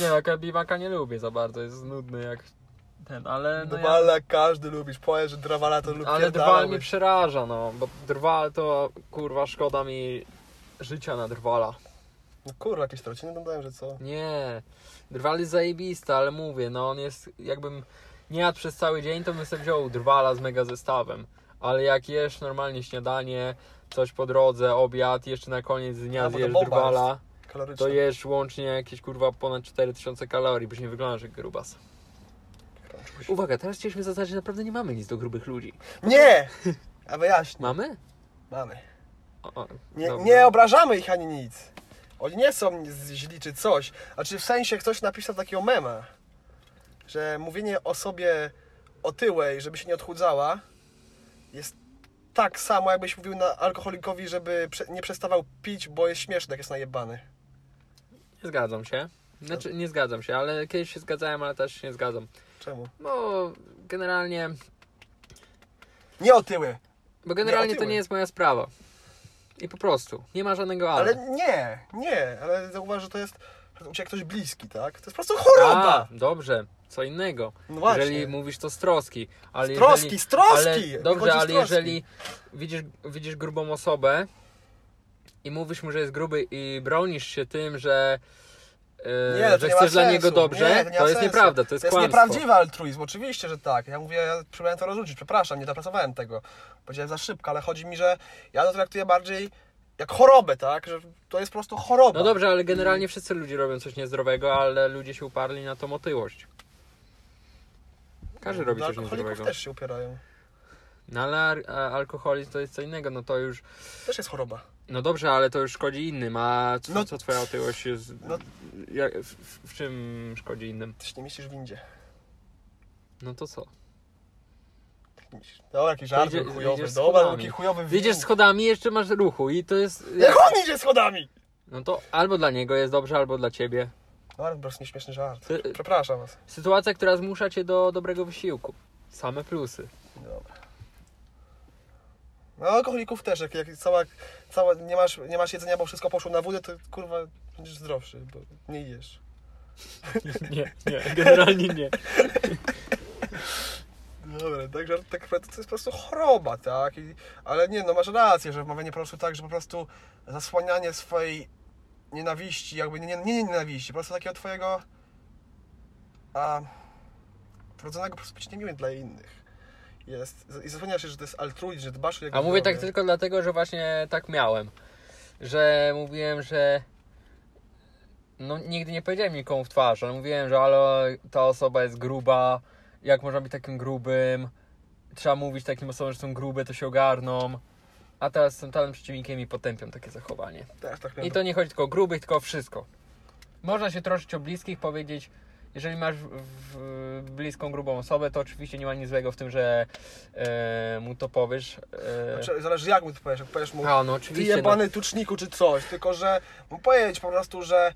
[SPEAKER 2] Nie no, kabimaka nie lubię za bardzo, jest nudny jak ten, ale no ja...
[SPEAKER 1] Dwala każdy lubisz, powiesz, że drawala to lubi
[SPEAKER 2] Ale drwal mnie
[SPEAKER 1] pierdalałeś.
[SPEAKER 2] przeraża no, bo drwal to kurwa szkoda mi życia na drwala.
[SPEAKER 1] No kurwa, jakieś trociny dodałem, że co?
[SPEAKER 2] Nie, drwal jest zajebisty, ale mówię, no on jest, jakbym nie jadł przez cały dzień, to bym sobie wziął drwala z mega zestawem. Ale jak jesz normalnie śniadanie, coś po drodze, obiad, jeszcze na koniec dnia
[SPEAKER 1] A, bo to
[SPEAKER 2] zjesz
[SPEAKER 1] bomba
[SPEAKER 2] drwala,
[SPEAKER 1] Kaloryczne.
[SPEAKER 2] to jesz łącznie jakieś kurwa ponad 4000 kalorii, byś nie wyglądasz jak grubas. Uwaga, teraz chcieliśmy zaznaczyć, że naprawdę nie mamy nic do grubych ludzi.
[SPEAKER 1] Nie! A wyjaśnij.
[SPEAKER 2] Mamy?
[SPEAKER 1] Mamy.
[SPEAKER 2] O, o,
[SPEAKER 1] Nie,
[SPEAKER 2] dobra.
[SPEAKER 1] nie obrażamy ich ani nic. Oni nie są z- źli czy coś. A czy w sensie ktoś napisał takiego mema, że mówienie o sobie otyłej, żeby się nie odchudzała, jest tak samo, jakbyś mówił na alkoholikowi, żeby prze, nie przestawał pić, bo jest śmieszny, jak jest najebany.
[SPEAKER 2] Nie zgadzam się. Znaczy, nie zgadzam się, ale kiedyś się zgadzałem, ale też się nie zgadzam.
[SPEAKER 1] Czemu?
[SPEAKER 2] Bo generalnie
[SPEAKER 1] Nie otyły,
[SPEAKER 2] Bo generalnie to
[SPEAKER 1] otyły.
[SPEAKER 2] nie jest moja sprawa. I po prostu. Nie ma żadnego ale.
[SPEAKER 1] ale nie, nie, ale zauważ, że to jest że u ciebie ktoś bliski, tak? To jest po prostu choroba!
[SPEAKER 2] A, dobrze, co innego.
[SPEAKER 1] No właśnie.
[SPEAKER 2] Jeżeli mówisz to z troski. Ale
[SPEAKER 1] Z troski,
[SPEAKER 2] jeżeli,
[SPEAKER 1] z troski!
[SPEAKER 2] Ale,
[SPEAKER 1] Mi
[SPEAKER 2] dobrze,
[SPEAKER 1] chodzi z
[SPEAKER 2] ale
[SPEAKER 1] troski.
[SPEAKER 2] jeżeli widzisz, widzisz grubą osobę i mówisz mu, że jest gruby i bronisz się tym, że, e,
[SPEAKER 1] Nie, to
[SPEAKER 2] że
[SPEAKER 1] nie ma
[SPEAKER 2] chcesz dla
[SPEAKER 1] sensu.
[SPEAKER 2] niego dobrze,
[SPEAKER 1] Nie, to nie ma
[SPEAKER 2] jest
[SPEAKER 1] sensu.
[SPEAKER 2] nieprawda, to jest,
[SPEAKER 1] To jest
[SPEAKER 2] kłamstwo.
[SPEAKER 1] nieprawdziwy altruizm, oczywiście, że tak. Ja mówię, ja próbowałem to rozrzucić, przepraszam, nie dopracowałem tego. Powiedziałem za szybko, ale chodzi mi, że ja to traktuję bardziej jak chorobę, tak? Że to jest po prostu choroba.
[SPEAKER 2] No dobrze, ale generalnie wszyscy ludzie robią coś niezdrowego, ale ludzie się uparli na tą otyłość. Każdy robi
[SPEAKER 1] Do
[SPEAKER 2] coś
[SPEAKER 1] No, alkoholików
[SPEAKER 2] niezdrowego.
[SPEAKER 1] też się upierają.
[SPEAKER 2] No ale ar- a- alkoholizm to jest co innego, no to już,
[SPEAKER 1] Też jest choroba.
[SPEAKER 2] no dobrze, ale to już szkodzi innym, a co,
[SPEAKER 1] No-
[SPEAKER 2] co twoja otyłość jest,
[SPEAKER 1] no-
[SPEAKER 2] jak, w, w- w czym szkodzi innym?
[SPEAKER 1] Ty się nie mieścisz w windzie.
[SPEAKER 2] No to co?
[SPEAKER 1] Dobra, jakiś żart
[SPEAKER 2] idzie-
[SPEAKER 1] był chujowy.
[SPEAKER 2] idziesz z
[SPEAKER 1] Dobra, był
[SPEAKER 2] schodami.
[SPEAKER 1] taki chujowy w
[SPEAKER 2] Wyjdziesz schodami, jeszcze masz ruchu i to jest,
[SPEAKER 1] Jak on idzie schodami!
[SPEAKER 2] no to albo dla niego jest dobrze, albo dla ciebie.
[SPEAKER 1] No ale po prostu nieśmieszny żart.
[SPEAKER 2] Ty-
[SPEAKER 1] Przepraszam was.
[SPEAKER 2] Sytuacja, która zmusza cię do dobrego wysiłku. Same plusy. *laughs*
[SPEAKER 1] Dobra. No alkoholików też, jak, jak cała, cała, nie, masz, nie masz jedzenia, bo wszystko poszło na wódę, to kurwa będziesz zdrowszy, bo nie jesz.
[SPEAKER 2] Nie, nie, generalnie nie.
[SPEAKER 1] Dobra, tak, żart, tak naprawdę to jest po prostu choroba, tak? I, ale nie, no masz rację, że wmawianie po prostu tak, że po prostu zasłanianie swojej nienawiści, jakby nie, nie, nie nienawiści, po prostu takiego twojego a, wrodzonego po prostu być niemiłym dla innych. Jest, I zasłaniasz się, że to jest altruizm, że dbasz o jego
[SPEAKER 2] A mówię tak
[SPEAKER 1] zdrowie.
[SPEAKER 2] tylko dlatego, że właśnie tak miałem. Że mówiłem, że. No nigdy nie powiedziałem nikomu w twarz, ale mówiłem, że ale ta osoba jest gruba, jak można być takim grubym, trzeba mówić takim osobom, że są grube, to się ogarną. A teraz jestem totalnym przeciwnikiem i potępiam takie zachowanie.
[SPEAKER 1] Też tak
[SPEAKER 2] I
[SPEAKER 1] miałem.
[SPEAKER 2] to nie chodzi tylko o grubych, tylko o wszystko. Można się troszczyć o bliskich, powiedzieć, jeżeli masz w, w, bliską, grubą osobę, to oczywiście nie ma nic złego w tym, że e, mu to powiesz. E,
[SPEAKER 1] Znaczy, zależy jak mu to powiesz, jak powiesz mu
[SPEAKER 2] a, no
[SPEAKER 1] ty
[SPEAKER 2] oczywiście.
[SPEAKER 1] jebany tuczniku czy coś, tylko że mu powiedzieć po prostu, że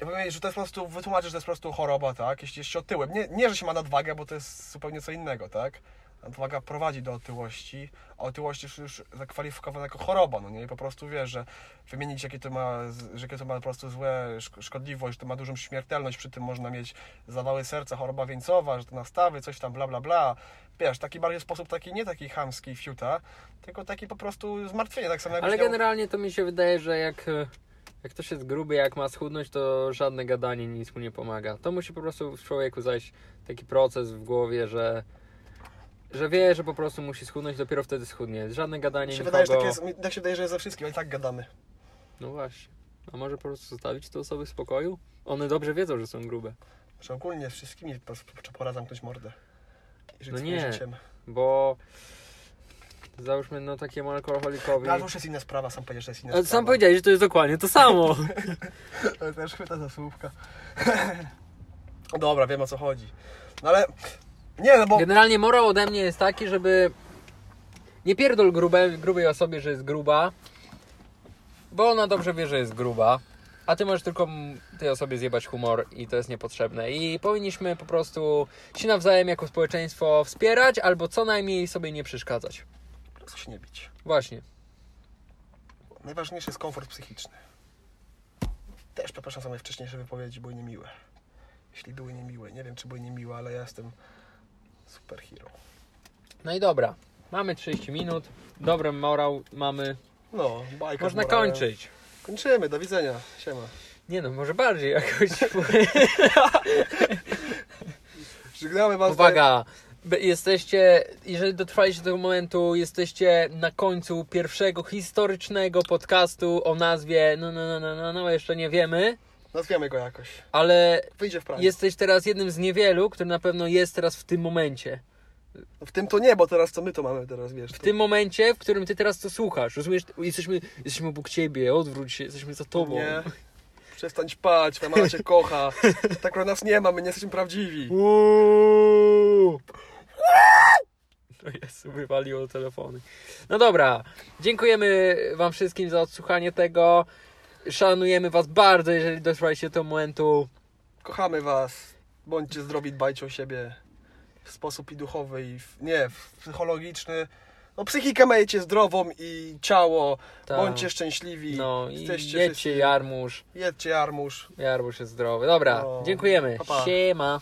[SPEAKER 1] ja powiem, że to jest po prostu, wytłumaczysz, że to jest po prostu choroba, tak? Jeśli jest się otyłem. Nie, nie, że się ma nadwagę, bo to jest zupełnie co innego, tak? nadwaga prowadzi do otyłości, a otyłość jest już zakwalifikowana jako choroba, no nie? I po prostu wiesz, że wymienić jakie to ma, że jakie to ma po prostu złe szk- szkodliwość, to ma dużą śmiertelność, przy tym można mieć zawały serca, choroba wieńcowa, że to nastawy, coś tam, bla, bla, bla. Wiesz, taki bardziej sposób, taki nie taki chamski fiuta, tylko taki po prostu zmartwienie, tak samo jakbyś
[SPEAKER 2] Ale
[SPEAKER 1] miał-
[SPEAKER 2] generalnie to mi się wydaje, że jak, e, jak ktoś jest gruby, jak ma schudnąć, to żadne gadanie nic mu nie pomaga. To musi po prostu w człowieku zajść taki proces w głowie, że, że wie, że po prostu musi schudnąć, dopiero wtedy schudnie. Żadne gadanie
[SPEAKER 1] Mi się
[SPEAKER 2] nikogo...
[SPEAKER 1] wydaje, że tak, jest, mi tak się wydaje, że jest ze wszystkim, ale i tak gadamy.
[SPEAKER 2] No właśnie. A może po prostu zostawić te osoby w spokoju? One dobrze wiedzą, że są grube.
[SPEAKER 1] Że ogólnie z wszystkimi po prostu pora zamknąć mordę. I żyć
[SPEAKER 2] No
[SPEAKER 1] swoim
[SPEAKER 2] nie.
[SPEAKER 1] życiem.
[SPEAKER 2] Bo załóżmy, no takiemu alkoholikowi...
[SPEAKER 1] No, ale to już jest inna sprawa, sam powiedziesz, że jest inna
[SPEAKER 2] Ale sam
[SPEAKER 1] sprawa.
[SPEAKER 2] powiedziałeś, że to jest dokładnie to samo.
[SPEAKER 1] Ale też chwyta za słówka. *laughs* Dobra, wiem o co chodzi. No ale... Nie, no bo...
[SPEAKER 2] Generalnie morał ode mnie jest taki, żeby nie pierdol grube, grubej osobie, że jest gruba, bo ona dobrze wie, że jest gruba, a ty możesz tylko mm, tej osobie zjebać humor i to jest niepotrzebne. I powinniśmy po prostu się nawzajem jako społeczeństwo wspierać albo co najmniej sobie nie przeszkadzać.
[SPEAKER 1] Co się nie bić.
[SPEAKER 2] Właśnie.
[SPEAKER 1] Najważniejszy jest komfort psychiczny. Też przepraszam za moje wcześniejsze wypowiedzi, były niemiłe. Jeśli były niemiłe, nie wiem czy były niemiłe, ale ja jestem superhero.
[SPEAKER 2] No i dobra, mamy 30 minut, dobry morał mamy,
[SPEAKER 1] No, bajka.
[SPEAKER 2] można
[SPEAKER 1] z morałem.
[SPEAKER 2] kończyć.
[SPEAKER 1] Kończymy, do widzenia. Siema.
[SPEAKER 2] Nie no, może bardziej jakoś.
[SPEAKER 1] Żegnamy was.
[SPEAKER 2] Uwaga! Be- Jesteście, jeżeli dotrwaliście do tego momentu, jesteście na końcu pierwszego historycznego podcastu o nazwie, no, no, no, no, no, no jeszcze nie wiemy,
[SPEAKER 1] Nazwiemy go jakoś.
[SPEAKER 2] ale
[SPEAKER 1] Wyjdzie w prawie.
[SPEAKER 2] jesteś teraz jednym z niewielu, który na pewno jest teraz w tym momencie.
[SPEAKER 1] W tym to nie, bo teraz co my to mamy teraz, wiesz.
[SPEAKER 2] W tym momencie, w którym ty teraz to słuchasz, rozumiesz? Jesteśmy, jesteśmy obok ciebie, odwróć się, jesteśmy za tobą.
[SPEAKER 1] Nie. Przestań spać, twoja mama cię
[SPEAKER 2] *laughs*
[SPEAKER 1] kocha. Tak o nas nie ma, my nie jesteśmy prawdziwi.
[SPEAKER 2] Uuuu. To jest, wywaliło telefony. No dobra, dziękujemy Wam wszystkim za odsłuchanie tego. Szanujemy Was bardzo, jeżeli dotrwaliście do tego momentu.
[SPEAKER 1] Kochamy was. Bądźcie zdrowi, dbajcie o siebie. W sposób i duchowy, i w, nie, w psychologiczny. No psychikę miejcie zdrową i ciało.
[SPEAKER 2] Tak.
[SPEAKER 1] Bądźcie szczęśliwi.
[SPEAKER 2] No i
[SPEAKER 1] Jesteście wszyscy-
[SPEAKER 2] jedźcie Jarmusz.
[SPEAKER 1] Jedźcie, Jarmusz.
[SPEAKER 2] Jarmusz jest zdrowy. Dobra,
[SPEAKER 1] No.
[SPEAKER 2] dziękujemy.
[SPEAKER 1] Pa, pa.
[SPEAKER 2] Siema.